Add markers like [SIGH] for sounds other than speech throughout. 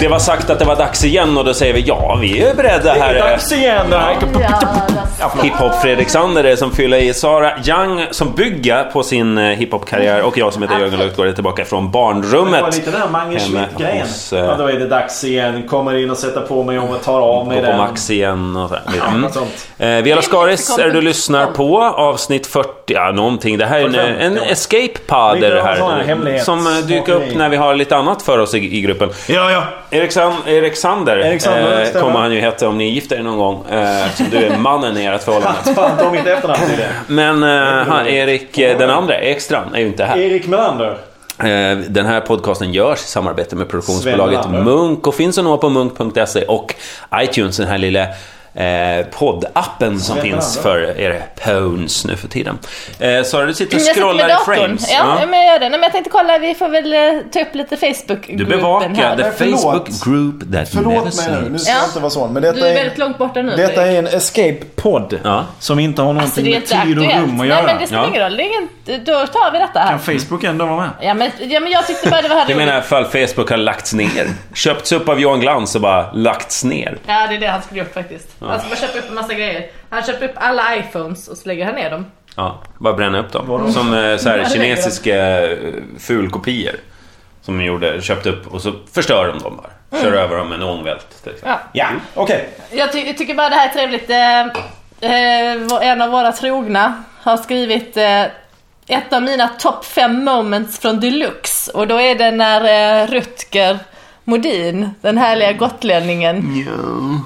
Det var sagt att det var dags igen och då säger vi ja, vi är beredda Det här. är dags igen! Det här. Hiphop Fredrik Sander är som fyller i Sara Young som bygger på sin eh, hiphop-karriär och jag som heter Jörgen Lötgård är tillbaka från Det var barnrummet. lite den här Mange Hemma Schmidt-grejen. hos, eh, Ja, då är det dags igen. Kommer in och sätter på mig om och tar av mig Gå på den. Max igen och så här. Mm. eh, Något sånt. Eh, Viola Skaris är det du lyssnar på, avsnitt 40, ja någonting. Det här är en, 45, en ja. escape pod Lite är det sån här här. hemlighets- Som eh, dyker upp smakeri. när vi har lite annat för oss i, i gruppen. Ja, ja. Eriksson, Eriksander, Eriksander, eh, stämmer. kommer han ju heta om ni gifter er någon gång. Eh, som du är mannen i ert [LAUGHS] förhållande. Fan, ta mitt efternamn till det. Men eh, han, Erik, eh, den andra, Ekstrand, är ju inte här. Erik Melander. Eh, Den här podcasten görs i samarbete med produktionsbolaget Sven Lander. Munk och finns att nå på munk.se och iTunes, den här lilla eh, poddappen som Sven finns för Lander. er phones nu för tiden. Eh, Sara, du sitter och Mm, Jag sitter scrollar med i datorn. frames. Ja, Ja. men jag gör det. Nej, men jag tänkte kolla, vi får väl eh, ta upp lite Facebookgruppen Du bevakar här. the Nej, förlåt. Facebook group that never Förlåt mig nu, nu sleeps. ska Ja. jag inte vara sån. Men Du detta är är, väldigt långt borta nu. detta Erik. är en escape-podd. Ja. Som inte har Så någonting Alltså, det är med inte tid och rum aktuellt. att Nej, men göra. det spelar Ja. ingen roll. Det är ingen, då tar vi detta här. Kan Facebook ändå vara med? Ja men, ja, men jag tyckte bara det var Du menar roligt. ifall Facebook har lagts ner? Köpts upp av Johan Glans och bara lagts ner? Ja, det är det han skulle gjort faktiskt. Han skulle bara köpa upp en massa grejer. Han köpte upp alla iPhones och så lägger han ner dem. Ja, bara bränna upp dem. Som eh, [LAUGHS] så här, kinesiska eh, fulkopior. Som de gjorde, köpte upp och så förstör de dem Mm. bara. Kör över dem med en ångvält. till exempel. Ja. Ja, okej. Jag, ty- jag tycker bara det här är trevligt. Eh, eh, vår- en av våra trogna har skrivit eh, ett av mina topp fem moments från Deluxe. Och då är det när eh, Rutger Modin, den härliga gotlänningen,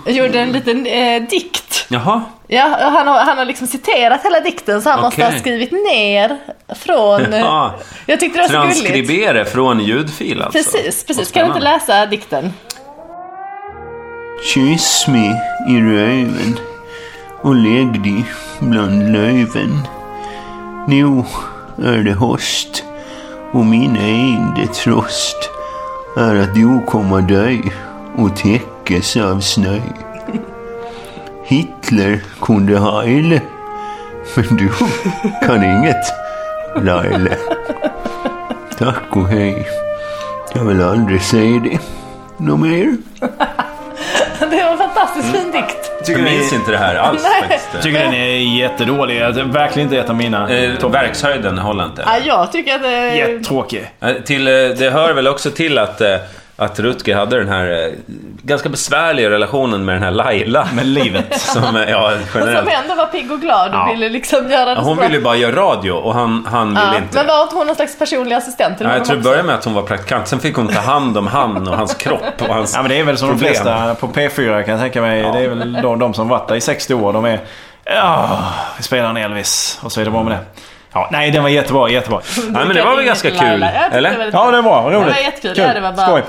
gjorde en liten eh, dikt. Jaha. Ja, och han, har, han har liksom citerat hela dikten så han måste Okej. ha skrivit ner från... eh, Ja. Jag tyckte det var så gulligt. Transkribera från ljudfil alltså. Precis, Vad precis. Kan du spännande. inte läsa dikten? [LAUGHS] Kyss mig i röven och lägg dig bland löven. Nu är det höst och min enda tröst är att du kommer dö och täckas av snö. Hitler kunde heile, men du kan inget, Laila. Tack och hej. Jag vill aldrig säga det. Något mer? Det var en fantastiskt fin dikt. Jag minns inte det här alls Jag faktiskt. tycker den är jättedålig. Jag- det är Verkligen inte ett av mina. Eh, verkshöjden håller inte. Ja, jag tycker att... eh, Jättetråkig. Eh, Till, eh, det hör väl också till att, eh, att Rutger hade den här eh, ganska besvärliga relationen med den här Laila. Med livet. Som, eh, [LAUGHS] ja, Som generellt. ändå var pigg och glad och ville liksom göra det Hon så bra. ville ju bara göra radio och han, han ville ja. inte Men var inte hon någon slags personlig assistent till Nej, honom jag tror det också? började med att hon var praktikant, sen fick hon ta hand om han och hans kropp och hans Ja men det är väl som problem. de flesta på P4 kan jag tänka mig. Det är väl de, de som varit där i 60 år. De är... Ja, vi spelar en Elvis och så är det bra med det. Ja, nej den var jättebra, jättebra. Nej, men det var väl ganska kul, Laila. Jag tyckte eller? Det var väldigt Ja kul. det var roligt. det var jättekul. Kul. Ja, det var bara... Skoj.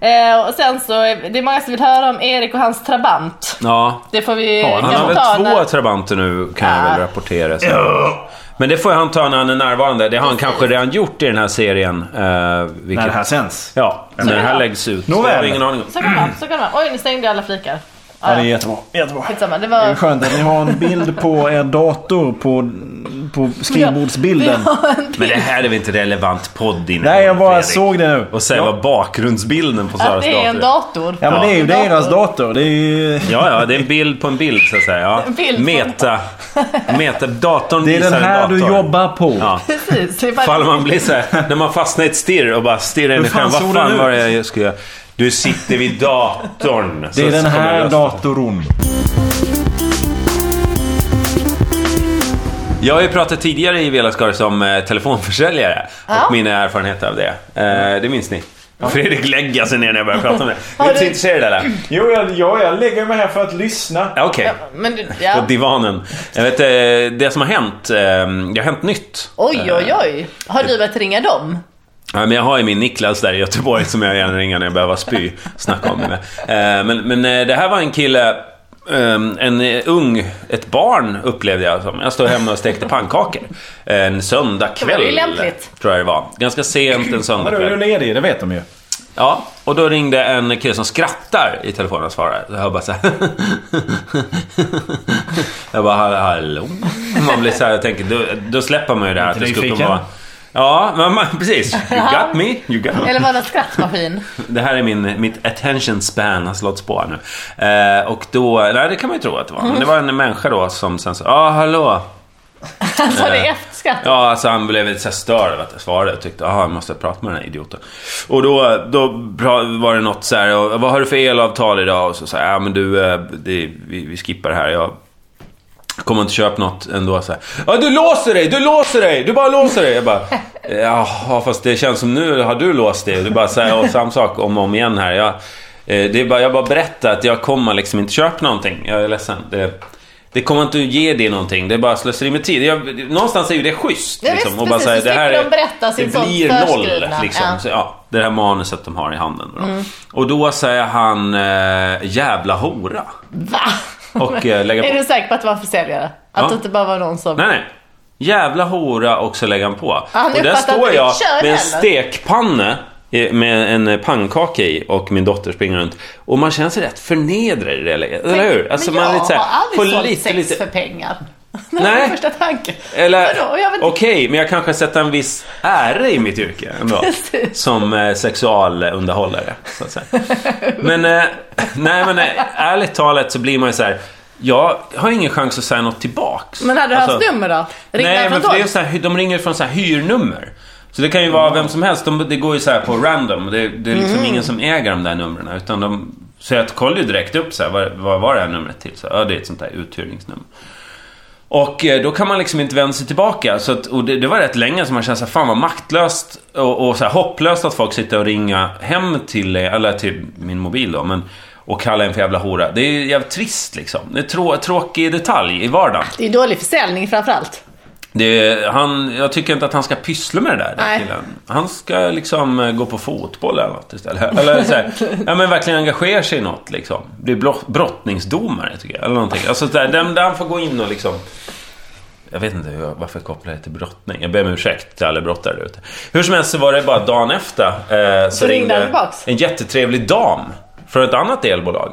Eh, och sen så, eh, det är många som vill höra om Erik och hans trabant. Ja. Det får vi Ja, han Han har kanske ta väl två när- trabanter nu, kan jag Ja. väl rapportera. Så. Men det får han ta när han är närvarande. Det har han kanske redan gjort i den här serien. eh, vilket, När det här sänds. Ja, när den här läggs ut. Nåväl. Jag har ingen aning om. Så kan det vara, så kan det vara. Oj, nu stängde jag alla flikar. Ja, Ja, det är ja. jättebra. jättebra. Skitsamma, det Det är var... skönt att ni har en bild på er dator på, på skrivbordsbilden. Vi har en Men bild. det här är väl inte relevant podd Nej, jag bara Fredrik? såg det nu. Och sen var bakgrundsbilden på Att Saras det är en dator. dator. Ja, men det är ju En dator. deras dator. Det är ju... Ja, ja, det är en bild på en bild så att säga. Ja. En bild på- [LAUGHS] Meta. Meta. Datorn Det är visar den en här dator. du jobbar på. Ja. Precis. Det är bara... Fall man blir så här, [LAUGHS] när man fastnar i ett stirr och bara stirrar in i Hur fan skärmen. Vad såg fan den var ut? det jag skulle göra? Du sitter vid datorn. [LAUGHS] Det är den här datorn. datorn. Jag har ju pratat tidigare i Velaskar som eh, telefonförsäljare Ja. och mina erfarenheter av det. Eh, det minns ni? Fredrik lägger sig ner när jag börjar prata om det. Du är Har inte så du- intresserad eller? Jo, jag, jag, jag lägger mig här för att lyssna. Ja, Okej. Men du, På ja. divanen. Jag vet, eh, det som har hänt, eh, det har hänt nytt. Oj, oj, oj. Har du börjat ringa dem? Ja, men jag har ju min Niklas där i Göteborg som jag gärna ringer när jag behöver spy. Snacka om det med. Eh, Men, men eh, det här var en kille, eh, en eh, ung, ett barn upplevde jag som. Jag stod hemma och stekte pannkakor. En söndagkväll. Det var ju lämpligt. Tror jag det var. Ganska sent en Vadå, är du söndagkväll. ledig? Det vet de ju. Ja, och då ringde en kille som skrattar i telefonen och svarade. Så jag bara så här. [LAUGHS] Jag bara, hallå? Man blir så här, jag tänker, då, då släpper man ju det här att det skulle kunna nyfiken? vara... Ja, men man, precis. You got me, you got me. Eller var det en skrattmaskin? Det här är min, mitt attention span har slått spår nu. Eh, och då, nej det kan man ju tro att det var. Men det var en människa då som sen sa, ja ah, hallå. Alltså det är efter skratt. Eh, Ja, alltså han blev lite så här störd över att jag svarade och tyckte, ah jag måste prata med den här idioten. Och då, då pra- var det något så här, "Och vad har du för elavtal idag? Och så sa jag, ja men du, eh, det, vi, vi skippar det här. Jag kommer inte köpa något ändå så här. Ja, du låser dig, du låser dig, du bara låser dig. Jag bara, jaha fast det känns som nu har du låst dig. Och Du bara säger "Ja, samma sak om och om igen här. Jag, eh, det är bara, jag bara berättar att jag kommer liksom inte köpa någonting. Jag är ledsen. Det, det kommer inte att ge dig någonting. Det är bara slöseri med tid. Jag, någonstans är ju det schysst. liksom. Ja, visst, och bara precis. så här, Så slipper de berätta sin det sån blir noll. förskrivna. Liksom. Ja. Mm. Så, ja, det här manuset de har i handen. Då. Och då säger han eh, jävla hora. Va? Och, eh, lägga på. Är du säker på att det var försäljare? Att Ja. det inte bara var någon som... Nej, nej. Jävla hora och så lägger han på. han och där uppfattar står inte jag ditt kön med en heller. stekpanne eh, med en eh, pannkaka i och min dotter springer runt. Och man känner sig rätt förnedrad i det läget, eller hur? Alltså, men man jag är lite så här, har aldrig får sålt lite, sex lite- för pengar. [LAUGHS] Det var Nej. min första tanken. Eller Vadå? Jag vet inte. okej, men jag kanske sätter en viss ära i mitt yrke ändå. Precis. som eh, sexualunderhållare. Så att säga. Men, eh, nej, men eh, ärligt talat så blir man ju så här. Jag har ingen chans att säga något tillbaks. Men hade du Alltså- haft nummer då? Ringde Nej, han men från för det är tolv? ju så här, de ringer från så här hyrnummer. Så det kan ju Mm. vara vem som helst. De, det går ju så här på random. Det, det är liksom ingen som äger de där numren. Utan de, så jag kollade ju direkt upp så här, vad, vad var det här numret till? Så, ja, det är ett sånt där uthyrningsnummer. Och eh, då kan man liksom inte vända sig tillbaka. Så att, och det, det var rätt länge som man kände så här, fan vad maktlöst och, och så här, hopplöst att folk sitter och ringer hem till eh, eller till min mobil då, men och kallar en för jävla hora. Det är ju jävligt trist liksom. Det är trå, tråkig detalj i vardagen. Det är dålig försäljning framförallt. Det, han, jag tycker inte att han ska pyssla med det där, den Nej. killen. Han ska liksom eh, gå på fotboll eller något istället. [LAUGHS] Eller så här, ja, men verkligen engagera sig i något liksom. Bli blo- brottningsdomare, tycker jag. Eller någonting. Alltså, så här, den, där han får gå in och liksom... Jag vet inte hur jag, varför jag kopplar det till brottning. Jag ber om ursäkt till alla brottare där ute. Hur som helst så var det bara dagen efter eh, så Så ringde han tillbaks? en jättetrevlig dam från ett annat elbolag.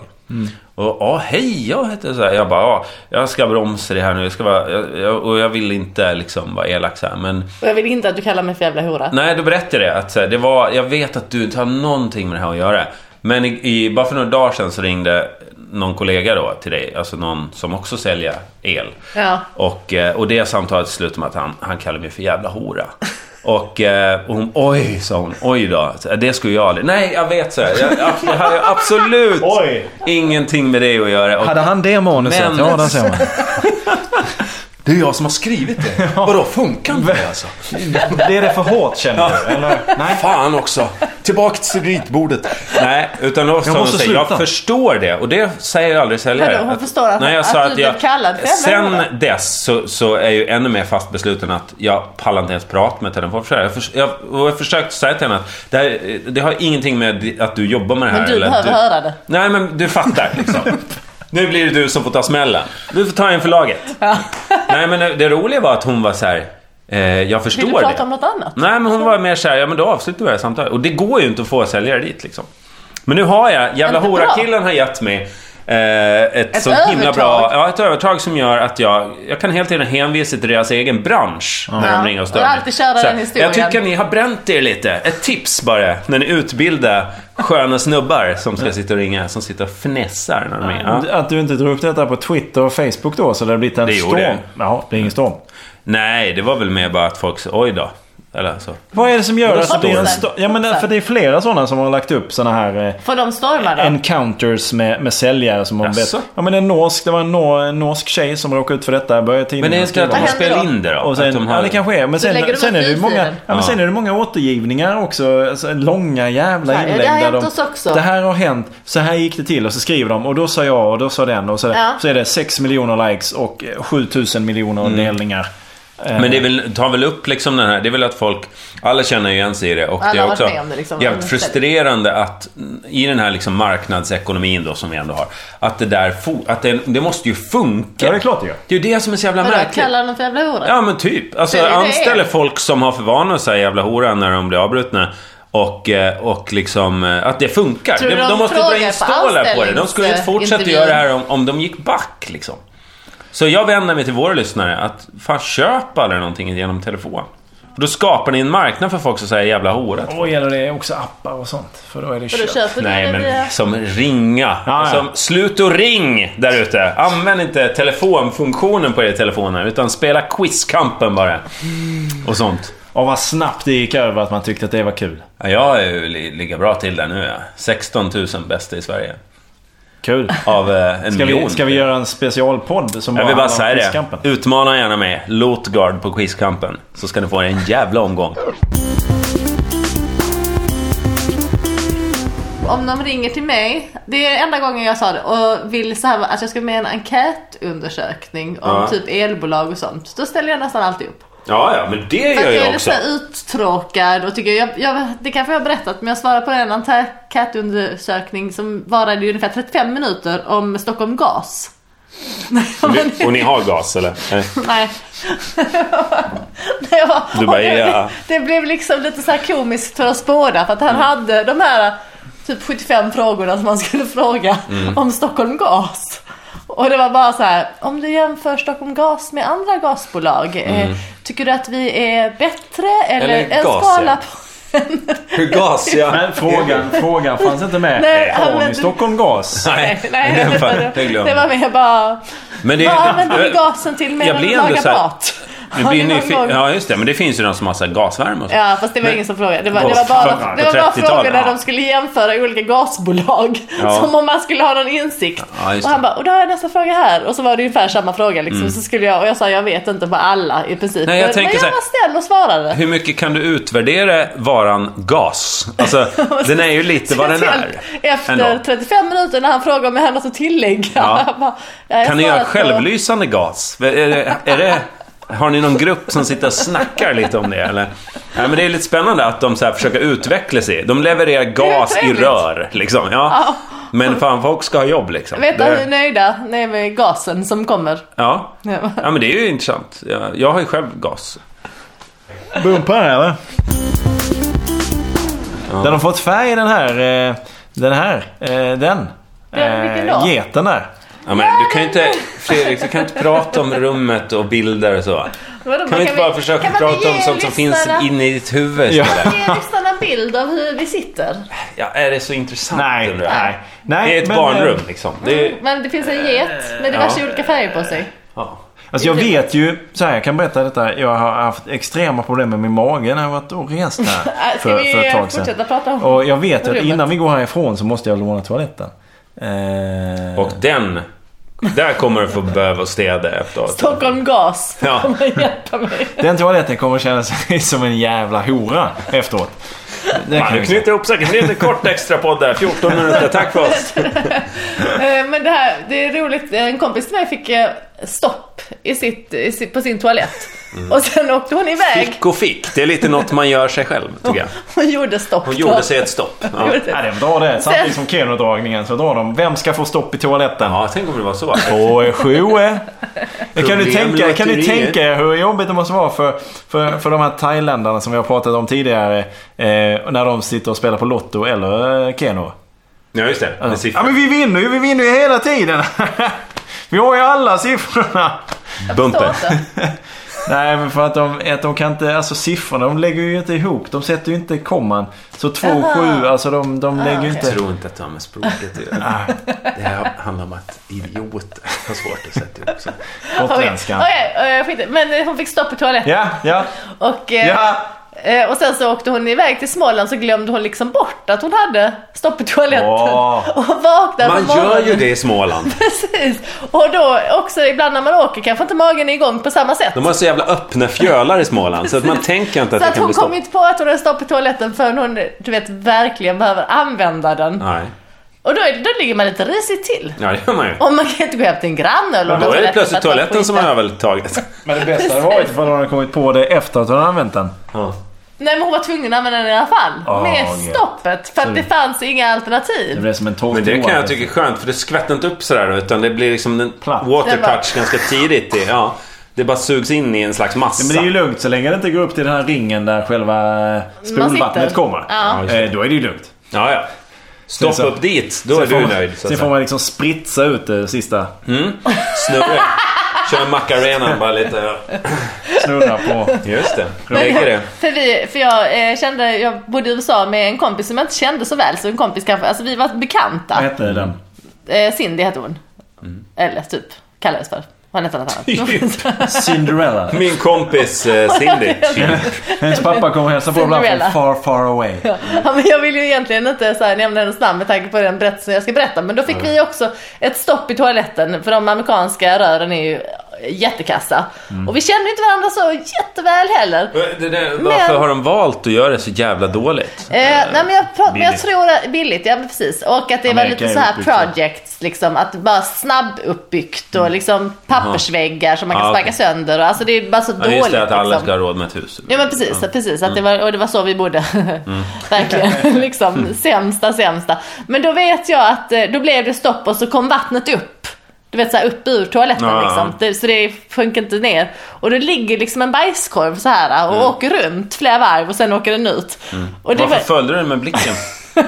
Och ja, hej, jag heter så här. Jag bara, ja, jag ska bromsa det här nu. Jag ska vara, jag, jag, och jag vill inte liksom vara elak så här, men Och jag vill inte att du kallar mig för jävla hora. Nej, då berättade jag det. Att, så här, det var, jag vet att du inte har någonting med det här att göra. Men i, i, bara för några dagar sedan så ringde någon kollega då till dig, alltså någon som också säljer el. Ja. Och, eh, och det samtalet slutade med att han, han kallade mig för jävla hora. Och, eh, och hon, oj, sa hon, oj då. Så, Det skulle jag aldrig. Nej, jag vet, så jag. Jag, Det hade jag absolut Oj. ingenting med det att göra. Och, Hade han det manuset? Men- Ja, där ser man. det är jag som har skrivit det. Vadå, funkar inte det alltså? Det är det för hårt känner du? Eller? Nej. Fan också! Tillbaka till ritbordet. Nej, utan då sa hon måste så här, jag sluta." förstår det. Och det säger jag aldrig säljare. Vadå, hon förstår att- Nej, jag sa att att, du blev jag, kallad för jävla Sen hora? dess så, så är jag ju ännu mer fast besluten att jag pallar inte ens prata med telefonförsäljare. Jag, förs- jag, och jag försökte säga till henne att det, här, det har ingenting med att du jobbar med det här Men du eller att behöver höra det. Nej, men du fattar liksom. [LAUGHS] Nu blir det du som får ta smällen. Du får ta en för [LAUGHS] laget. Nej, men det roliga var att hon var så här. Eh, jag förstår Vill du det. prata om något annat? Nej, men hon var mer såhär, ja men då avslutar vi det här samtalet. Och det går ju inte att få säljare dit liksom. Men nu har jag, jävla Inte bra. hora-killen har gett mig eh, ett, så himla övertag. bra ja, ett övertag som gör att jag, jag kan helt tiden hänvisa till deras egen bransch när de Ja. ringer och Och stör alltid köra Så här, den historien. Jag tycker ni har bränt er lite. Ett tips bara, när ni utbildar sköna snubbar som ska sitta och ringa, som sitter och fnässar när de ringer. Ja. Att du inte drog upp detta på Twitter och Facebook då så det har blivit en Det gjorde storm. jag. Jaha, det är ingen storm. Nej, det var väl mer bara att folk sa, oj då. Eller så. Vad är det som gör att det blir en storm? storm? Ja men för det är flera sådana som har lagt upp sådana här eh, Får de storma då? encounters med, med säljare som har bett. Jaså? Ja men en norsk, det var en, nor en norsk tjej som råkade ut för detta. Började tidningen Men det är inte skriva att de om Vad händer spelar då? in det då? Och att sen, de ja, det kanske är. Men Så lägger sen, de sen, upp är det ju många, ja, fritiden. men Ja. sen är det många återgivningar också. Alltså, långa jävla Ja, det inlägg. har där hänt de, oss också. Det här har hänt. Så här gick det till. Och så skriver de. Och då sa jag och då sa den. Och så, Ja. så är det 6 miljoner likes och 7000 miljoner Mm. delningar. Eh, Men det är väl, tar väl upp liksom den här, det är väl att folk, alla känner ju igen sig i det och Alla det har är varit också med om det, liksom. jävligt Mm. frustrerande att mm, i den här liksom marknadsekonomin då som vi ändå har, att det där, fo- att det, det måste ju funka. Ja, det är klart det gör. Det är ju det som är så jävla Vadå, märkligt. kallar de för jävla hora? Ja men typ. Alltså Det är det. anställer folk som har för vana att säga jävla hora när de blir avbrutna. Och, eh, och liksom eh, att det funkar. Tror du de, de måste frågar dra in på stålar på det. De skulle inte fortsätta anställningsintervjun? göra det här om, om de gick back liksom. Så jag vänder mig till våra lyssnare att fan köp aldrig någonting genom telefon. För då skapar ni en marknad för folk som säger jävla hora. Och gäller det också appar och sånt? För då är det Och då kört. köper du Nej, det via... men som ringa. ja. Som slut och ring där ute. Använd inte telefonfunktionen på er telefoner, utan spela Quizkampen bara. Och sånt. Och vad snabbt det gick över att man tyckte att det var kul. Ja, jag är ju li- ligga bra till där nu. Ja. 16 000 bästa i Sverige. Kul. Av eh, en Ska miljon. vi, ska vi göra en specialpodd som jag vill bara handlar om säga det. Fiskampen? Utmana gärna mig, Lotgard på Quizkampen. Så ska ni få en jävla omgång. Om de ringer till mig, det är enda gången jag sa det och vill så här att jag ska med i en enkätundersökning om Ja. typ elbolag och sånt. Då ställer jag nästan alltid upp. Ja, ja, men det För gör att jag är jag lite så också. här uttråkad och tycker jag, jag, det kanske jag har berättat men jag svarade på en enkätundersökning som varade i ungefär 35 minuter om Stockholm Gas. [LAUGHS] Du- Och ni har gas, eller? Nej. [LAUGHS] Nej. [LAUGHS] det, var, Du bara, och det, ja. Mm. det blev liksom lite så här komiskt för oss båda för att han hade de här typ 75 frågorna som man skulle [LAUGHS] fråga Mm. om Stockholm Gas. Och det var bara så här, om du jämför Stockholm Gas med andra gasbolag, eh, tycker du att vi är bättre eller, Mm. Eller en gas, skala ja. på en... Hur gas, ja. Men frågan, frågan fanns inte med. Nej, Har men- ni Stockholm Gas? [LAUGHS] Nej, Nej, det, var- det det, glömde var mer bara, Men det, vad använder vi gasen till mer jag än blir att ändå laga så här- mat? Nu Har blir ni någon nyfiken. gång- Ja, just det. Men det finns ju de som har så här gasvärme och så. Ja fast det var ingen som frågade. Det var, det var På bara, det var bara 30-talet, frågor där ja. de skulle jämföra olika gasbolag. Ja. [LAUGHS] Som om man skulle ha någon insikt. Ja, just och han det. Mm. bara, och då har jag nästa fråga här. Och så var det ungefär samma fråga liksom. Så skulle jag, och jag sa jag vet inte på alla i princip. Nej, jag men, tänker men jag så här- var snäll och svarade. Hur mycket kan du utvärdera varan gas? [LAUGHS] Alltså, [LAUGHS] den är ju lite vad den är. Efter ändå. 35 minuter när han frågade om jag hade något att tillägga. Ja. [LAUGHS] Jag bara, "Ja, jag Kan ni göra svarar på- självlysande gas? Är det, är det, har ni någon grupp som sitter och snackar lite om det? Eller? Nej, men det är lite spännande att de så här försöker utveckla sig. De levererar gas i trevligt. rör. Liksom. Ja. Men fan, folk ska ha jobb liksom. Vet du Det- hur nöjda ni är med gasen som kommer? [LAUGHS] ja. Ja. ja, men det är ju intressant. Jag, jag har ju själv gas. Bumpar här va? Den har fått färg den här. eh, Den här. eh, Den. Den, vilken då? Eh, Geten där. Ja, men du kan ju inte, Fredrik, du kan inte prata om rummet och bilder och så. Vadå, man Kan vi inte bara försöka kan man inte prata om ge sånt som finns lyssnarna- inne i ditt huvud? Ja. istället? Ge lyssnarna en bild av hur vi sitter. Ja, är det så intressant Nej, undrar jag? nej. nej. Det är ett men, barnrum eh, liksom. Det är, Men det finns en get med diverse ja. olika färger på sig. ja. Alltså jag vet ju, så här, jag kan berätta detta. Jag har haft extrema problem med min mage när jag varit och rest här. [LAUGHS] Äh, Ska vi fortsätta prata om? Och jag vet ju att Rummet. innan vi går härifrån så måste jag låna toaletten. Eh, Och den... Där kommer du få behöva städa efteråt. Stockholm Gas [LAUGHS] Ja. kommer hjälpa mig. Den toaletten kommer att känna sig [LAUGHS] som en jävla hora efteråt. Det Fan, kan du jag säga. knyter ihop säkert. Det är en liten kort extra podd där. 14 minuter. Tack för [LAUGHS] oss. Eh, Men det här, det är roligt. En kompis till mig fick eh, stopp i sitt, i sitt, på sin toalett. Och sen åkte hon iväg Mm. Fick och fick. Det är lite något man gör sig själv, tycker jag. och gjorde stopp. Hon gjorde sig ett stopp. Ja, Typ. Ja, det drar det. Samtidigt som Keno-dragningen så drar de. Vem ska få stopp i toaletten? eh, ja tänk om det var så. Åh, sjue. Kan du, tänka, kan du Problemlotteriet. tänka er hur jobbigt det måste vara för, för, för de här thailändarna som vi har pratat om tidigare. Eh, när de sitter och spelar på Lotto eller eh, Keno. Ja, just det. Med Ja siffror. men vi vinner ju, vi vinner ju hela tiden. [LAUGHS] vi har ju alla siffrorna. Bumper. Nej, men för att de, att de kan inte, alltså siffrorna de lägger ju inte ihop. De sätter ju inte komman. Så 2 Aha. 7, alltså de, de lägger ju Jag inte... tror inte att det har med språket att göra. Det här handlar om att idioter har svårt att sätta ihop sig. Gotländskan. Okej, eh, skit i- men eh, hon fick stopp i toaletten. Ja, ja, Och, eh, ja. Eh, Och sen så åkte hon iväg till Småland så glömde hon liksom bort att hon hade stopp i toaletten. Åh. Och vaknade Man på morgonen. gör ju det i Småland. Precis. Och då också ibland när man åker kanske inte magen är igång på samma sätt. De har så jävla öppna fjölar i Småland så att [LAUGHS] man tänker inte att Så det att kan hon bli kom stopp. inte på att hon hade stopp i toaletten förrän hon du vet, verkligen behöver använda den. Nej, Och då, är, då ligger man lite risigt till. ja det gör man ju. Och man kan inte gå hem till en granne eller Då är det plötsligt för att man toaletten som har skiter. övertaget. Men det bästa hade varit ifall hon hade kommit på det efter att hon hade använt den. Ja. Nej men hon var tvungen att använda den i alla fall. Åh, Ah, med gud. stoppet. För att det fanns inga Det alternativ. blev som en torr Men det toa. kan jag tycka är skönt för det skvätter inte upp sådär då, utan det blir liksom en Platt. water Det bara- touch ganska tidigt. i- Ja. Det bara sugs in i en slags Ja, Men det massa. är ju lugnt så länge det inte går upp till den här ringen där själva spolvattnet sitter. kommer. Ja. Eh, Då är det ju lugnt. Ja, ja. Sen så- Stoppa upp dit, då är Sen får du man- liksom nöjd. Så att Sen får säga. man liksom spritsa ut det sista. Snurra. Kör Macarena bara lite. Snurra på. Just det. Lägger det. För, vi, för jag eh, kände, jag bodde i USA med en kompis som jag inte kände så väl, så en kompis kanske, alltså vi var bekanta. Vad hette den? Eh, Cindy hette hon. Mm. Eller typ, kallades för. Hon [LAUGHS] hette något annat. Cinderella. Min kompis [LAUGHS] eh, Cindy. Hennes pappa kommer hälsa på ibland Cinderella. från far, far away. Ja, men jag vill ju egentligen inte så här nämna hennes namn med tanke på den berättelsen jag ska berätta. Men då fick vi också ett stopp i toaletten för de amerikanska rören är ju jättekassa. Mm. Och vi kände inte varandra så jätteväl heller. Eh, Det där, varför Men- har de valt att göra det så jävla dåligt? Eh, nej men jag, pratar, men jag billigt. tror att, billigt, ja men precis. Och att det var Amerika lite är så här uppbyggt så. projects liksom. Att bara snabbuppbyggt och liksom pappersväggar som man kan Ja, sparka Mm. Ah, okej. sönder. Och, alltså det är bara så Ja, dåligt. just det, att alla liksom. ska ha råd med ett hus. Ja men precis, precis att det Mm. var, och det var så vi bodde. [LAUGHS] [LAUGHS] Verkligen, liksom sämsta sämsta. Men då vet jag att eh, då blev det stopp och så kom vattnet upp. Du vet så här upp ur toaletten Ja, ja, ja. liksom. Det, så det sjönk inte ner. Och då ligger liksom en bajskorv så här Mm. och åker runt flera varv och sen åker den ut. Och det Varför var, följde du den med [LAUGHS] blicken? det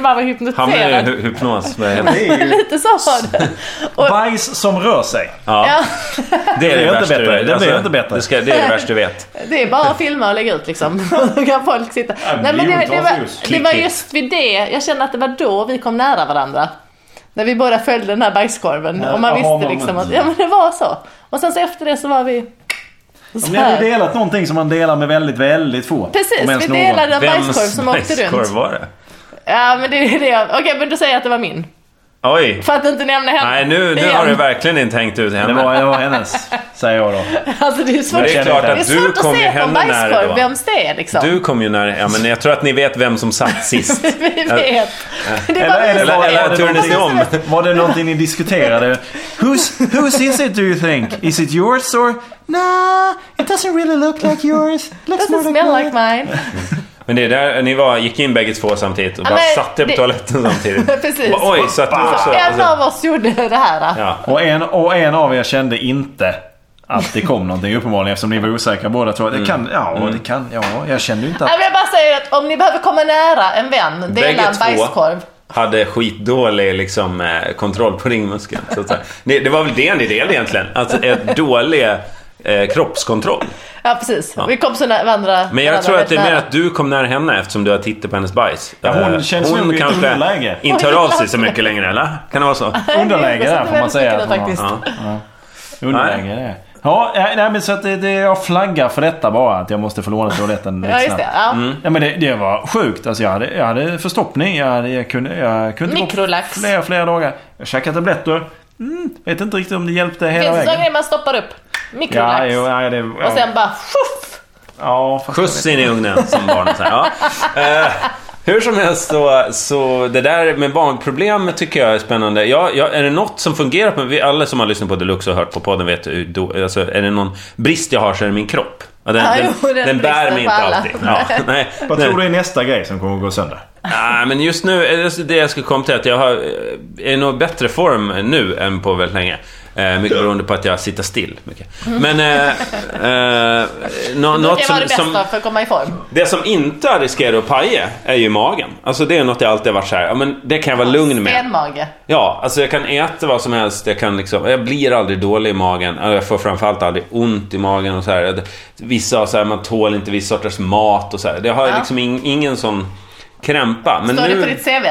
var bara Hamnade hypnotiserad. du i hy- hypnos? Vad heter det? [LAUGHS] Lite så var det. Och, Bajs som rör sig. Ja, ja, det är Det det är inte värsta du bättre. Det vet. Alltså, blir inte bättre. Det, ska, det är det värsta du vet. Det är bara att filma och lägga [LAUGHS] ut liksom. Då kan folk sitta. Nej, men det, det, var, miljontals det var just vid det, jag kände att det var då vi kom nära varandra. När vi båda följde den här bajskorven. Och man aha, visste moment. liksom att ja, men det var så. Och sen så efter det så var vi så Ni har ju här. delat någonting som man delar med väldigt, väldigt få. Om ens Precis, vi någon. delade en Vems bajskorv som åkte bajskorv runt. var det? Ja men det är det jag... Okej men då säger jag att det var min. Oj! För att inte nämna henne Nej, nu, nu igen. har du verkligen inte hängt ut Det henne. var, det var hennes, säger jag då. [LAUGHS] Alltså det är svårt, Men det är klart det är att du svårt att kom ju se på en henne nära bajskorv då. vems det är liksom. Du kom ju nära. Ja, men jag tror att ni vet vem som satt sist. [LAUGHS] Vi vet. Det Eller- var eller- vi som- Eller, eller det turades ni om? Var det någonting ni diskuterade? Who's, whose is it do you think? Is it yours or? Nah, it doesn't really look like yours. It looks Doesn't more smell like like mine. mine. Men det är där ni var, gick in bägge två samtidigt och Ja, bara men satte på det- toaletten samtidigt. [LAUGHS] Precis. Och Oj, så att du också... Så en Alltså, av oss gjorde det här. ja. Och en, och en av er kände inte att det kom någonting uppenbarligen eftersom ni var osäkra båda två. Det kan, ja, det kan, ja, jag kände ju inte att... Nej, men jag bara säger att om ni behöver komma nära en vän, Bägge dela en två. bajskorv. hade skitdålig liksom, eh, kontroll på ringmuskeln. Så att säga. det, det var väl det ni delade egentligen. Alltså ett dålig eh, kroppskontroll. Ja precis, vi kom så nära varandra. Men jag varandra tror att det är mer nära. [LAUGHS] att du kom nära henne eftersom du har tittat på hennes bajs. Ja, hon Eh, känns nog i ett underläge. inte hör av sig så mycket längre, eller? Kan det vara så? Underläge där får man säga. Jag att hon har. faktiskt. Ja. Underläge det. Ja, nej, nej men så att det, det, jag flaggar för detta bara. Att jag måste få låna toaletten lite Ja just snabbt. det. Ja. Mm. Ja men det, det var sjukt. Alltså jag hade, jag hade förstoppning. Jag, hade, jag kunde, jag kunde gå Mikrolax. flera, flera dagar. Jag käkade tabletter. Mm, vet inte riktigt om det hjälpte hela Finns det sån vägen. grej man stoppar upp? Ja, Mikrolax. jo, ja, det, ja. Och sen bara tjoff! ja, fast Skjuts in i ugnen som barn. Så här. Ja. Eh, hur som helst så, så det där med barnproblem tycker jag är spännande. Ja, ja, är det något som fungerar på vi Alla som har lyssnat på Deluxe och hört på podden vet hur då, alltså, Är det någon brist jag har så är det min kropp. Ja, Den, Ja, den, jo, den den, bär mig bristen på inte alla. alltid. Ja, nej, Vad nej. tror du är nästa grej som kommer att gå sönder? Nej, men just nu, är det det jag skulle komma till, att jag har, eh, är i nog bättre form nu än på väldigt länge. Eh, mycket beroende på att jag sitter still. Mycket. Men... Eh, eh, nå- Det något brukar som, vara det bästa som, för att komma i form. det som inte riskerar att paja är ju magen. Alltså det är något jag alltid har varit så här, ja men det kan jag vara lugn med. Stenmage. Ja, alltså jag kan äta vad som helst, jag kan liksom, jag blir aldrig dålig i magen. Och Jag får framförallt aldrig ont i magen och så här. Det- Vissa har så här, man tål inte viss sorters mat och så här. Det har jag Ja. liksom ing, ingen sån krämpa. Men Står nu... det på ditt CV?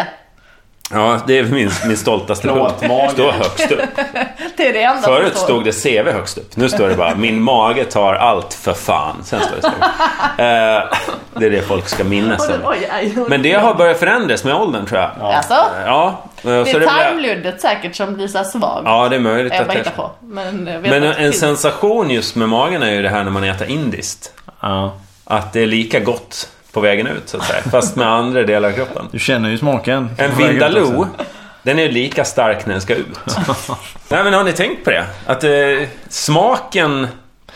Ja, det är min, min stoltaste punkt. mage. Står högst upp. [LAUGHS] Det är det enda som Förut stod det CV högst upp. Nu står det bara min mage tar allt för fan. Sen står det så. [LAUGHS] Eh, det är det folk ska Och minnas. det- Oj, aj, oj. Men det har börjat förändras med åldern tror jag. Ja, Alltså? eh, Det så det är blir, tarmluddet säkert som blir så här svag. ja det är möjligt jag att bara det hittar på. Men, jag vet Men att det en finns. sensation just med magen är ju det här när man äter indiskt. Ja. Att det är lika gott på vägen ut så att säga. Fast med andra delar av kroppen. Du känner ju smaken. En Vindaloo, den är lika stark när den ska [LAUGHS] ut. Nej men har ni tänkt på det? Att eh, smaken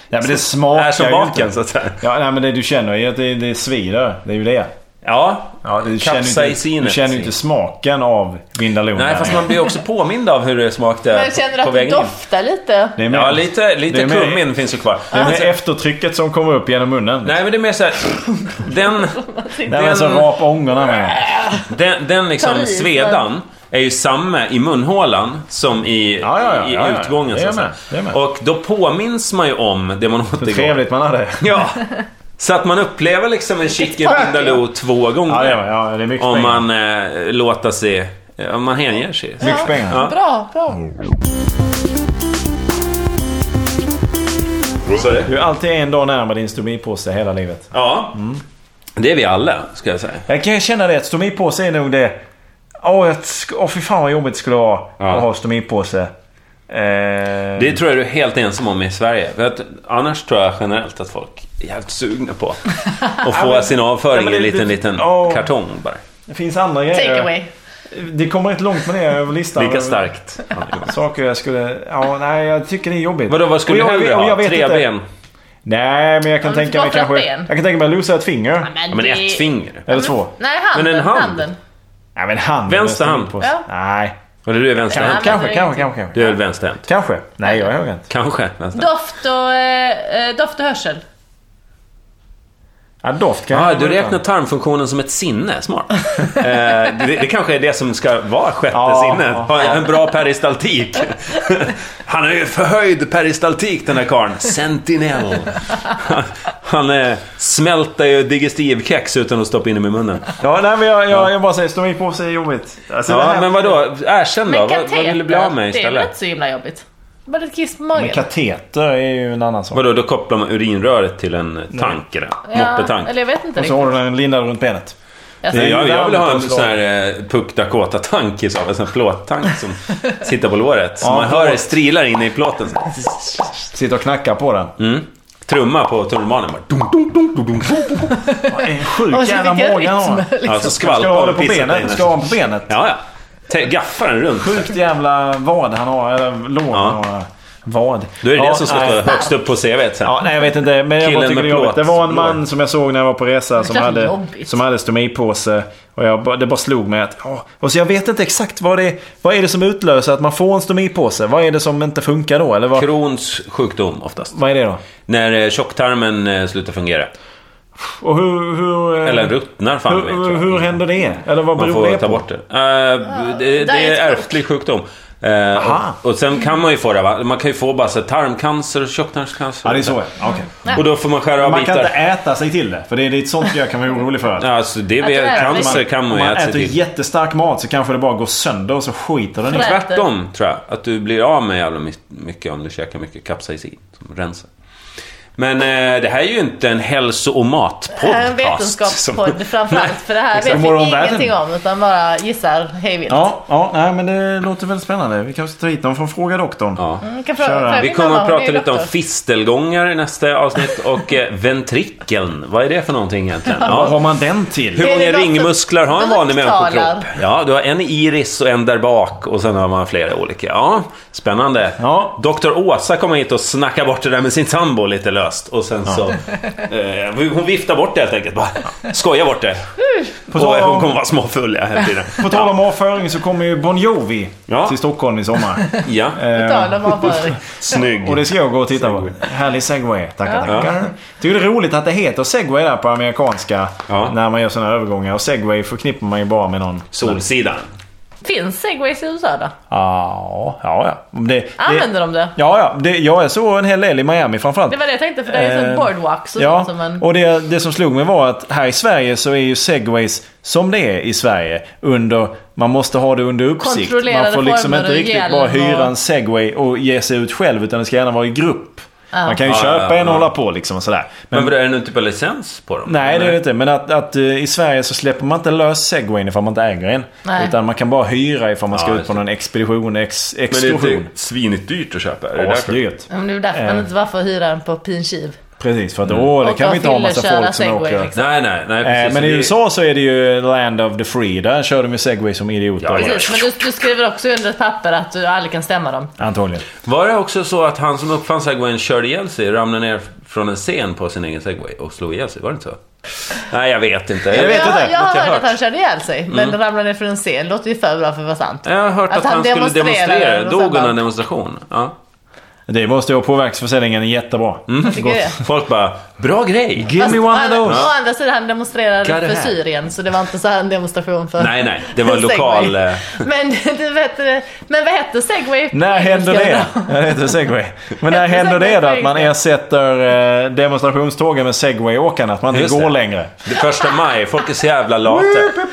Ja men det smakar är som ju inte. baken så att säga. Ja, nej, men det du känner ju att det, det svider. Det är ju det. Ja, Ja, du känner ju inte, kapsaicinet. du känner ju inte smaken av Vindaloo. Nej, fast man blir också påmind av hur det smakade Men känner du på att det vägen in. doftar lite? Det är mer- Ja, lite, det lite är mer- kummin finns ju kvar. Det är mer Alltså, eftertrycket som kommer upp genom munnen. Nej men det är mer såhär, den, Nej, men alltså så den- rapa ångorna med. den, den Tar liksom i, svedan är ju samma i munhålan som i, Ja, ja, ja, i ja, ja. utgången. Det är så att säga. med, det är med. Och då påminns man ju om det man åt Hur igår. trevligt man hade. [LAUGHS] Ja. Så att man upplever liksom [LAUGHS] en chicken vindaloo två Ja, gånger. det är, med. ja, det är mycket om pengar. man eh, låter sig... Om man hänger sig. Mycket pengar. Bra, bra. Du är alltid en dag närmare din stomipåse hela livet. Ja. Mm. Det är vi alla, ska jag säga. Jag kan känna det. att Stomipåse är nog det... Åh, oh, oh, fy fan vad jobbigt det skulle vara Ja. att ha stomipåse. Eh, Det tror jag du är helt ensam om i Sverige. För att annars tror jag generellt att folk är jävligt sugna på [LAUGHS] att få sin avföring ja, men i en det- liten, det- liten ja. kartong bara. det finns andra grejer. Take away. Det kommer inte långt med det över listan. Lika över starkt. Saker jag skulle... Ja, nej, jag tycker det är jobbigt. Vadå, vad skulle Och du jag- hellre och jag ha? vet Tre inte. ben? Nej, men jag kan Ja, men tänka mig varför ett kanske... ben? Jag kan tänka mig att losa ett finger. Ja, men det- ett finger. Eller två. Nej, handen. Men en hand. Handen. Nej, men handen. Vänster hand. Stomipåse. Ja. Nej. Eller du är vänsterhänt? Ja, men Kanske, det är kanske, kanske, kanske. Du är väl vänsterhänt? Kanske. Nej, jag är högerhänt. Kanske vänsterhänt. Doft och, eh, eh, doft och hörsel. Ja, doft kan Ah, jag du räknar tarmfunktionen som ett sinne, smart. eh, det, det kanske är det som ska vara sjätte Ja, sinnet. ja. Ha en bra peristaltik. Han har ju förhöjd peristaltik den här karln. Sentinell. Han, han eh, smälter ju digestivkex utan att stoppa in dem i munnen. Ja, nej men jag, jag, jag bara säger stomipåse är jobbigt. Alltså, det Ja, här- men vadå? Erkänn då. Men Vad, vad kateter, vill du bli av med det är väl inte istället? så himla jobbigt? Bara ett kiss på Men magen. kateter är ju en annan sak. Vadå, då kopplar man urinröret till en tank? eller? Moppetank? eller jag vet inte Och så riktigt. har du den lindad runt benet. Jag Nej, säger- jag, jag vill ha en Varmt och sån här eh, Puck Dakota-tank i så fall. En sån här plåttank som sitter på låret. Så Ja, man hör plåt. det strilar inne i plåten. Så. här. Sitter och knackar på den. Mm. Trumma på tunnelbanan bara. Dum, dum, dum, dum, dum. En sjuk Oj, jävla Alltså, vilken mage han rytm. Ja, så har. Ska ha Alltså, skvalpar den och på pissar benet. Ska ha den på benet. Ja, ja. Te- Gaffar den runt. Sjukt jävla vad han har. Eller lår han har. Vad. Då är det ja, det som ska nej. stå högst upp på CVt sen. Ja, nej jag vet inte. Men jag Killen bara tycker med det är jobbigt. Det var en plåt. man som jag såg när jag var på resa som klart det hade, är jobbigt. som hade stomipåse. Och jag, bara- det bara slog mig att... ja, och så jag vet inte exakt vad det, vad är det som utlöser att man får en stomipåse. Vad är det som inte funkar då? Eller vad, Crohns sjukdom oftast. vad är det då? När eh, tjocktarmen eh, slutar fungera. Och hur... hur eh, Eller ruttnar fan hur, vet jag. hur, hur händer det? Eller Man vad beror får det ta på? bort det. Eh, det, det diet är coke. ärftlig sjukdom. Eh, Aha. och, och sen kan man ju få det va? Man kan ju få bara så här, tarmcancer och tjocktarmscancer. Ja, det är så ja. Okej. Och då får man skära av Man kan bitar. inte äta sig till det. För det är lite sånt jag kan vara orolig för. Ja, alltså DB, Att man- cancer kan Om man ju man äta sig äter till. jättestark mat så kanske det bara går sönder och så skiter den i. Sådär. Tvärtom tror jag. Att du blir av med jävla my- mycket om du käkar mycket capsaicin som rensar. Men eh, det här är ju inte en hälso och matpodcast. Det här är en vetenskapspodd framförallt. För det här vet vi Morgonvärlden. ingenting om. Utan bara gissar hej vilt. Ja, ja, nej men det låter väl spännande. Vi kanske tar hit någon från Fråga Doktorn. Ja. Vi kan fråga- Kör. fråga Vi min kommer mamma, att hon är prata ju lite om doktor. fistelgångar i nästa avsnitt och eh, ventrikeln. Vad är det för någonting egentligen? Vad [LAUGHS] Ja. har man den till? Hur Är det många något som ringmuskler har en vanlig människokropp? baktalar? Ja, du har en i iris och en där bak och sen har man flera olika. Ja, spännande. Ja. Dr. Åsa kommer hit och snackar bort det där med sin sambo lite löst. Och sen så... Eh, hon viftar bort det helt enkelt. Bara, skojar bort det. På och tal om- hon kommer vara småfull ja, hela tiden. På tal om avföring så kommer ju Bon Jovi Ja. till Stockholm [LAUGHS] i sommar. Ja, På tal [LAUGHS] om avföring. snygg. Eh, Och det ska jag gå och titta på. Härlig segway. Tackar, tackar. Tycker det är roligt att det heter segway där på amerikanska. Ja. När man gör sådana här övergångar. Och segway förknippar man ju bara med någon... Solsidan. Finns segways i USA då? Ja, ja, ja. Det, det, Använder de det? Ja, ja. Det, jag såg en hel del i Miami framförallt. Det var det jag tänkte för det är ju Eh, så boardwalks och Ja, sånt som man... och det, det som slog mig var att här i Sverige så är ju segways som det är i Sverige. Under, man måste ha det under uppsikt. Kontrollerade Man får liksom former inte och riktigt hjälm bara och- hyra en segway och ge sig ut själv. Utan det ska gärna vara i grupp. Man kan ju Ja, köpa ja, en och ja. hålla på liksom och sådär. Men Men, vadå, är det någon typ av licens på dem? nej, det är det inte. Men att, att eh, i Sverige så släpper man inte lös segwayn ifall man inte äger en. Nej. Utan man kan bara hyra ifall man ska Ja, ut just på någon expedition, ex, Men det är exkursion. inte svinigt dyrt att köpa? Är det därför? Asdyrt. Ja, men det är därför Eh. man inte bara får hyra den på Pinkiv. Precis, för att Mm. åh, det Och kan vi de inte ha en massa fyller, köra folk som segway, åker. liksom. Nej, nej, nej. Eh, precis. men i Det- USA så är det ju land of the free. Där kör de ju segway som idioter. Ja, Precis, men du, du skriver också under ett papper att du aldrig kan stämma dem. Antagligen. Var det också så att han som uppfann segwayen körde ihjäl sig, ramlade ner från en scen på sin egen segway och slog ihjäl sig? Var det inte så? Nej, jag vet inte. Jag, vet Jag, inte. har- jag Något jag har hört hört. Mm. att han körde ihjäl sig, men ramlade ner från en scen. Låter ju för bra för att vara sant. Jag har hört att, han, skulle demonstrera. och Dog sen under bara- en demonstration? Ja. Det är bara att stå och påverksförsäljningen är jättebra. Mm. Jag tycker det. Folk bara, bra grej! Give me one of å, those! å andra sidan, han demonstrerade Got it för hat. Syrien, så det var inte så här en demonstration för... Nej, nej, det var en lokal... [LAUGHS] Segway. eh, Men, [LAUGHS] du vet, eh, men vad heter segway? på När händer det? engelska då? Jag heter segway. Men när händer det då? Att man ersätter eh, demonstrationstågen med segwayåkarna? Att man inte Just går det. längre? Det första maj, folk är så jävla lata.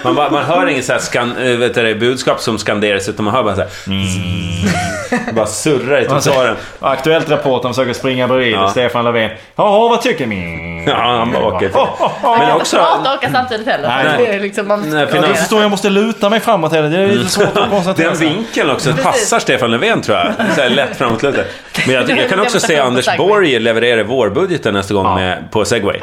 Man, bara, man hör inget så här skan, eh, vet du, det, budskap som skanderas utan man hör bara så här... Mm. Det bara surrar i Man trottoaren. Aktuellt Rapport, de försöker springa bredvid Ja. Stefan Löfven. Jaha, vad tycker ni? Ja, han bara [LAUGHS] åker. Oh, oh, oh. Men Man kan inte också... prata och åka samtidigt heller. Nej. Det är liksom, man Nej, Ja, finans- Mm. du förstår, jag måste luta mig framåt hela tiden. Det är lite svårt att koncentrera Den Alltså. sig. vinkeln också passar Stefan Löfven tror jag. Så här lätt framåt lutet. Men jag, jag kan också se Anders Borg leverera vårbudgeten nästa gång med, på segway.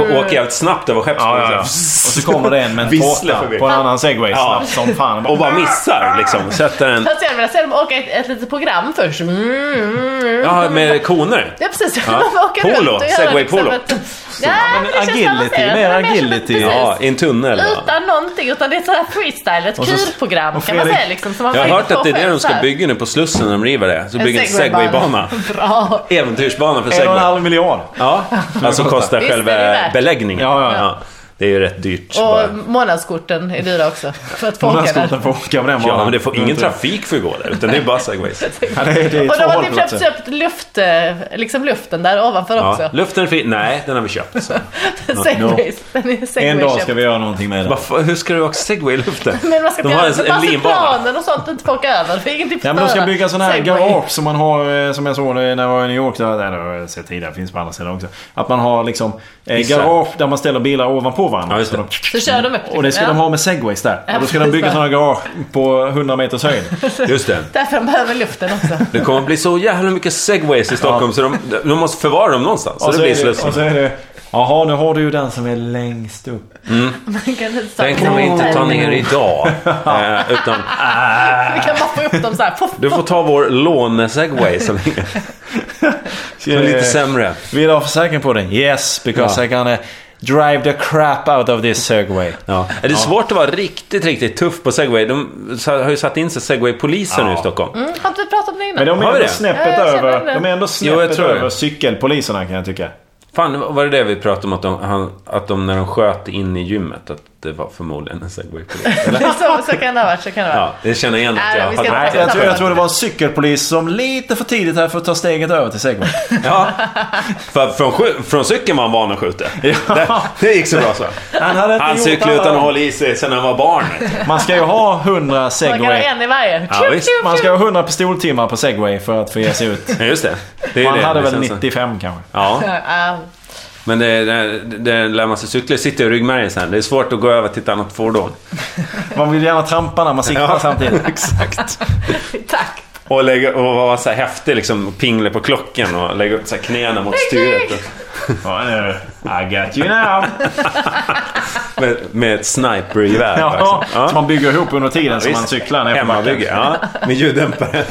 Och åker jävligt snabbt över Ja, ja, ja. skeppsbron. Liksom. Och så kommer det en med en Visslar tårta förbi. på en annan segway Ja. snabbt som fan. Och bara missar liksom. Sätter en... Fast jag hade velat se dem åka ett, ett litet program först. Mm, mm, mm. Ja, med koner. Ja [LAUGHS] precis, Ja. man åker Polo, runt och gör segway liksom polo. ett- Nej, men det känns agility, avancerat, mer men det känns agility. precis. Ja, i en tunnel. va? Utan någonting, utan det är sådär freestyle, ett Och så- kurprogram och kan man Fredrik- säga liksom. som man Jag har får hört in att det är på det de ska själv. bygga nu på Slussen när de river det. Så bygger en segwaybana. [LAUGHS] Bra. Äventyrsbana för En och en segway. halv miljard. Ja, alltså kostar Visst är det själva värt. beläggningen. Ja, ja, ja. Det är ju rätt dyrt. bara. Och månadskorten är dyra också. För att Hon folk har är där. skottat på åka på den Ja, banan. men det får ingen trafik får ju gå där, utan det är bara segways. Ja, det, är- det är Och två de har typ hållplatser. köpt, köpt luft, eh, liksom luften där ovanför Ja. också. Luften är fri. Nej, den har vi köpt. Så. [LAUGHS] Segways. Den är En dag segwayköp. ska vi göra någonting med det. Vad fa- Hur ska du åka segway i luften? Men man ska de har en, en linbana. planer och sånt inte folk över. Det är ingenting Ja, men de ska förstöra. bygga sådana här Segway. garage som man har, eh, som jag såg när jag var i New York. Där, där har jag sett tidigare, finns på andra sidan också. Att man har liksom eh, Hissar. garage där man ställer bilar ovanpå varandra. Ja, just det. Så de- Så kör de upp liksom, Och det ska ja. de ha med segways där. Ja, och då ska de precis. bygga sådana garage på 100 meters höjd. [LAUGHS] Just det. Därför de behöver luften också. Det kommer bli så jävla mycket segways i Stockholm så de, de måste förvara dem någonstans. Så och, det så blir är det, och Slussen. så är det... Jaha, nu har du ju den som är längst upp. Man kan inte ta- Den kan vi inte ta ner idag. eh, Utan Vi kan bara få upp dem så här. Puff, du får ta vår låne-segway som som är lite sämre. Vill du ha försäkring på den? Yes, because Ja. I gonna drive the crap out of this segway. Ja. Är det svårt att vara riktigt, riktigt tuff på segway? De sa- har ju satt in sig segway-poliser nu i Stockholm. Mm, Har inte vi pratat om det innan? Men de är Har vi ändå det? snäppet Ja, jag känner över, det. de är ändå Jo, jag snäppet tror det. över cykelpoliserna kan jag tycka. Fan, var det det vi pratade om? Att de, han, att de när de sköt in i gymmet, att det var förmodligen en segway-polis? Eller? [LAUGHS] så, så kan det ha varit. Så kan det [LAUGHS] ha Ja, varit. det känner jag igen att Nej, jag vi har- ska inte Nej, prata jag om tror, jag det. tror det var en cykelpolis som lite för tidigt här för att ta steget över till segway. Ja. [LAUGHS] För från, skj- från cykeln var han van att skjuta. Det, det gick så bra så. Han hade inte Han gjort cyklade alla utan dem. att hålla i sig sen han var barn. Man ska ju ha 100 Man kan ha segway. en i varje. Ja, Tjup, visst. tjup, Man tjup. ska ha 100 pistoltimmar på segway för att få ge sig ut. Ja, just det. det är Man det. hade Det väl känns så. 95 kanske. Ja, Ja, men det, det, det lär man sig cykla sitter i ryggmärgen sen. Det är svårt att gå över till ett annat fordon. Man vill gärna trampa när man siktar Ja. [LAUGHS] samtidigt. Exakt. Tack. Och, lägga, och vara så här häftig, liksom pingla på klockan och lägga upp så här knäna mot styret. Och, I got you now. med, med ett snipergevär. Ja, liksom. som man bygger ihop under tiden som visst. man cyklar ner på Hemmabygge, backen. ja. Med ljuddämpare.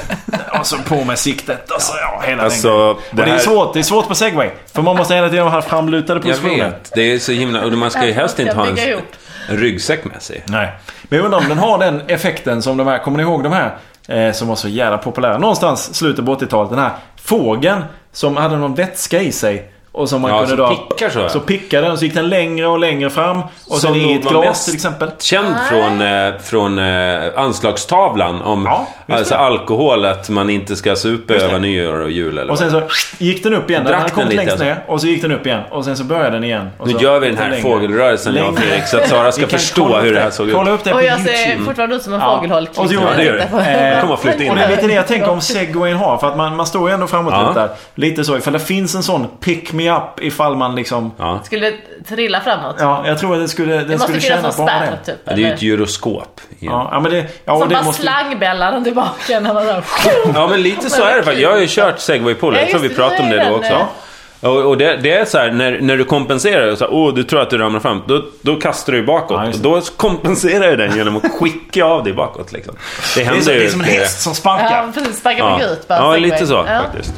Och så på med siktet och så ja, hela Alltså, det den grejen. Och det är här- svårt. Det är svårt på segway. För man måste hela tiden ha framlutade Jag positioner. vet. Det är så himla... Och man ska ju helst inte ha en, Jag bygger ihop. en ryggsäck med sig. Nej. Men jag undrar om den har den effekten som de här, kommer ni ihåg de här? Eh, som var så jävla populära. Någonstans slutet på 80-talet. Den här fågeln som hade någon vätska i sig. Och som man Ja, kunde som då... pickar så här. Så pickade den och så gick den längre och längre fram. Och Som sen i ett nog var glas mest- till exempel. Känd från, eh, från eh, anslagstavlan om Ja, just det. alltså, alkohol, att man inte ska supa över nyår och jul. Eller Och vad. sen så gick den upp igen. Den Drack hade kommit den lite alltså? längst ner. Och så gick den upp igen. Och sen så började den igen. Och nu så gör vi den här längre. fågelrörelsen, jag och Längre. Fredrik, så att Sara Vi ska kan förstå kolla upp hur det här såg ut. Kolla upp det här Och på jag YouTube. ser fortfarande ut som en Ja. fågelholk. Och så gjorde Ja, det gör det. Eh, kommer att flytta in Och det är där. lite det jag tänker om segwayn har. För att man, man står ju ändå framåt Ja. lite där. Lite så. Ifall det finns en sån pick me up ifall man liksom... Ja, Ja. Skulle trilla framåt. jag tror att det skulle, det den måste skulle tjäna finnas på någon att ha spärr det. typ. Det är ju eller? ett gyroskop. Ja, ja, men det... Ja, och Som det bara måste... slangbällar den tillbaka när man rör. Ja, men lite så är det faktiskt. Jag har ju kört segwaypolo. Ja, Jag tror vi just det, eh, pratade om det då det är också. Och, och det, det är så här, när, när du kompenserar och så här, oh, du tror att du ramlar fram, då, då kastar du ju bakåt. Ja, och just det. då kompenserar ju den genom att skicka av dig bakåt. Liksom. Det Det är, händer så, det ju. är som en det- häst som sparkar. Ja, precis. Sparka på Ja, gryt bara. ja segway. lite så Ja. faktiskt.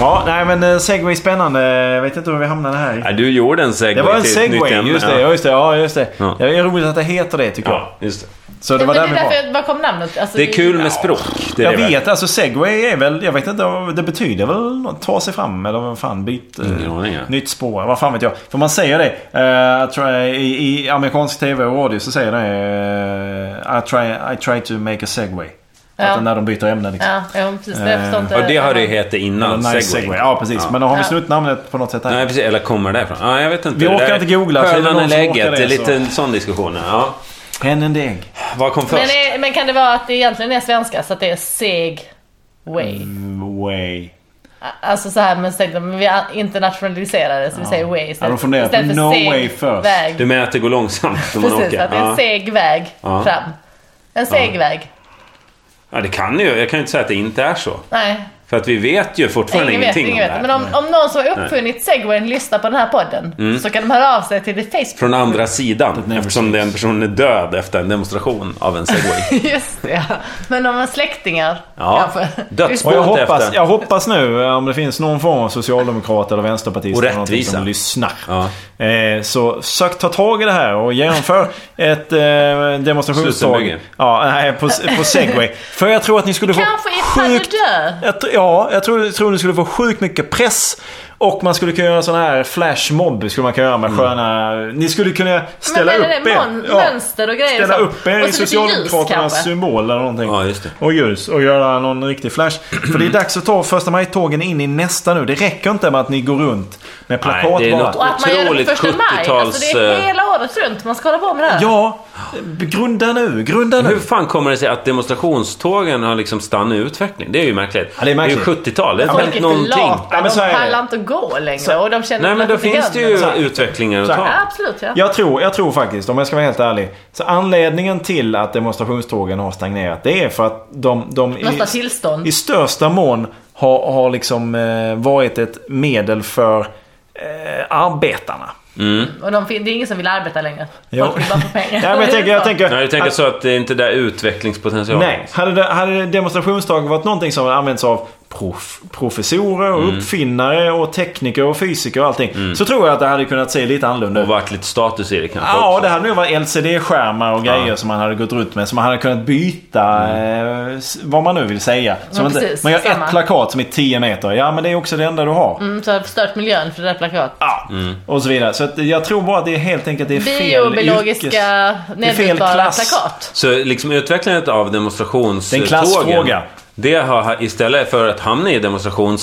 Ja, nej men eh, segway är spännande. Jag vet inte hur vi hamnade här. Nej, du gjorde en segway Det var en till ett nytt segway. ämne. Just det, Ja. ja just det. Ja, just det. Ja. det är roligt att det heter det tycker jag. Ja, just det. Så det var Men där det vi är var. därför, jag- var kom namnet? Alltså, Det är kul med språk. Det är Jag det väl. vet, alltså segway är väl, jag vet inte, vad- det betyder väl något, ta sig fram eller vad fan, byt... eh, Ingen aning, ja. Nytt spår, vad fan vet jag. För man säger det, eh, I try, i, i amerikansk TV och radio så säger det eh, I, try, I try to make a segway. Ja. Att när de byter ämne liksom. Ja, ja precis. Jag Eh, förstår inte. Och det har det hetat innan, Eller nice segway. Ja, precis. Men har vi Ja. snott namnet på något sätt här? Nej, precis. Eller kommer det ifrån? Ja, jag vet inte. Vi Det orkar där- inte googla, så är det Skönan är någon som orkar läget. det, Det är lite så- en sån diskussion. Ja. Hen and egg. Vad kom men, först? är, men kan det vara att det egentligen är svenska så att det är segway? Mm. Way. Alltså så här, men, så tänkte, jag, men vi är internationaliserade så vi säger way Ja, istället, de funderar på istället no seg way först. Väg. Du menar att det går långsamt när man Precis, åker? att det är en Ja. seg väg Ja. fram. En seg väg. ja, det kan ju. Jag kan ju inte säga att det inte är så. Nej, För att vi vet ju fortfarande ingen vet, ingenting ingen om det vet. Men här. om, om någon som har uppfunnit segwayen lyssnar på den här podden Mm. så kan de höra av sig till det Facebook. Från andra sidan, never eftersom den personen är död efter en demonstration av en [LAUGHS] segway. [LAUGHS] Just det, ja. Men om man har släktingar Ja, kanske. Och dödsboet jag hoppas, efter. jag hoppas nu eh, om det finns någon form av socialdemokrat eller vänsterpartist Och eller någonting rättvisa. som lyssnar. Ja. Eh, så sök ta tag i det här och genomför [LAUGHS] ett eh, demonstrationståg. Slutenbygge. Ja, nej, på, på segway. För jag tror att ni skulle få Kanske ifall du sjukt... dör. Jag, tr- ja, jag tror, tror ni skulle få sjukt mycket press. Och man skulle kunna göra sån här flashmob skulle man kunna göra med Mm. sköna... Ni skulle kunna ställa men, upp men, er. mon- mönster och grejer Ställa och sånt. upp er Och i så lite ljus Socialdemokraternas kanske. symbol eller någonting. Ja, just det. Och ljus. Och göra någon [CLEARS THROAT] riktig flash. För det är dags att ta första maj-tågen in i nästa nu. Det räcker inte med att ni går runt med plakat det är bara. något- Och att man gör det Otroligt på första maj. 70-tals, Alltså det är eh, hela året runt man ska hålla på med det här. Ja, grunda nu. Grunda Hur nu. fan kommer det sig att demonstrationstågen har liksom stannat i utveckling? Det är ju märkligt. Ja, det är märkligt. ju 70-tal. Det har Folk inte är hänt för Alltså, någonting. lata. Ja, men så är de det. pallar inte att gå längre och de känner Nej, att men de då inte finns kan det ju något. utvecklingar att Så här. ta. Ja, absolut ja. Jag tror, jag tror faktiskt, om jag ska vara helt ärlig. Så anledningen till att demonstrationstågen har stagnerat det är för att de, de Måste ha i, tillstånd. i största mån har, har liksom eh, varit ett medel för eh, arbetarna. Och de, fin- det är ingen som vill arbeta längre. Jo. Folk vill bara få pengar. Nej, men jag tänker, jag tänker, Nej, du tänker så att det inte är där utvecklingspotentialen Alltså- Nej, hade, det, hade demonstrationsdagen varit någonting som använts av prof, professorer och Mm. uppfinnare och tekniker och fysiker och allting. Så tror jag att det hade kunnat se lite annorlunda Och ut. varit lite status i det kanske Ja, också. det hade nog varit LCD-skärmar och grejer Ja. som man hade gått runt med. Som man hade kunnat byta Mm. eh, s- vad man nu vill säga. Så Ja, man, inte, precis, man gör samma. ett plakat som är 10 meter. Ja, men det är också det enda du har. Mm, så har jag förstört miljön för det där plakatet. Ja, Mm. och så vidare. Så att jag tror bara att det är helt enkelt det är fel yrkes- Biobiologiska det är fel nedbrytbara klass. plakat. Så liksom utvecklandet av demonstrationstågen. Det är en klassfråga. Det har istället för att hamna i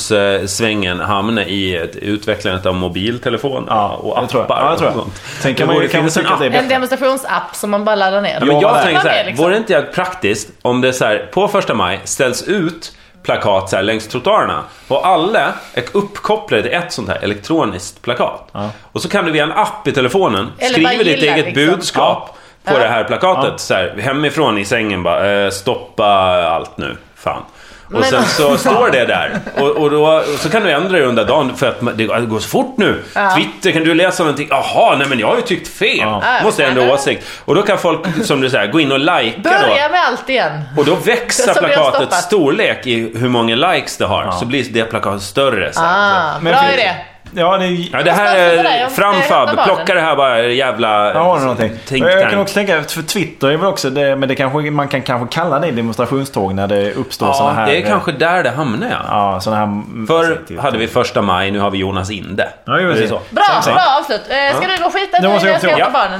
demonstrationssvängen hamna i ett- utvecklandet av mobiltelefoner Ja, och det tror jag. appar. Ja, det tror jag. och sånt. Sen kan Det man ju- borde kan man finnas tycka en att det är app. bättre. En demonstrationsapp som man bara laddar ner. Men Jag var jag där. tänker så Var här, det liksom? vore det inte jävligt praktiskt om det så här, på första maj ställs ut plakat så här längs trottoarerna och alla är uppkopplade till ett sånt här elektroniskt plakat. Och så kan du via en app i telefonen Eller skriva bara ditt gilla, eget liksom. budskap på Ja. det här plakatet. Ja. Så här, hemifrån i sängen bara, eh, stoppa allt nu, fan. Och Men- sen så står det där. Och, och då och så kan du ändra det under dagen för att man- det går så fort nu. Twitter, kan du läsa någonting? Jaha, nej men jag har ju tyckt fel. Ja. Måste jag ändra åsikt. Och då kan folk, som du säger, gå in och likea då. Börja med allt igen. Och då växer Som vi har plakatets stoppat. storlek i hur många likes det har. Så blir det plakatet större. Så. här. Ah, Men bra finns- idé. Ja, det är Ja, det Jag här står för det, är jag- jag hämtar framfab. barnen. Plocka det här bara jävla... Där har du någonting. Think Men jag kan tank. också tänka, för Twitter är väl också det, men det kanske, man kan kanske kalla det demonstrationståg när det uppstår sådana Ja, här... det är kanske där det hamnar ja. Ja, sådana här... typ- Förr hade vi första maj, nu har vi Jonas Inde. Ja, ju Är det precis. så? Bra, bra avslut. Eh, ska du gå och skita Nu nu måste när jag jag ska gå och hämta toa.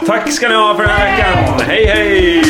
barnen? Tack ska ni ha för den här veckan. Hej, hej!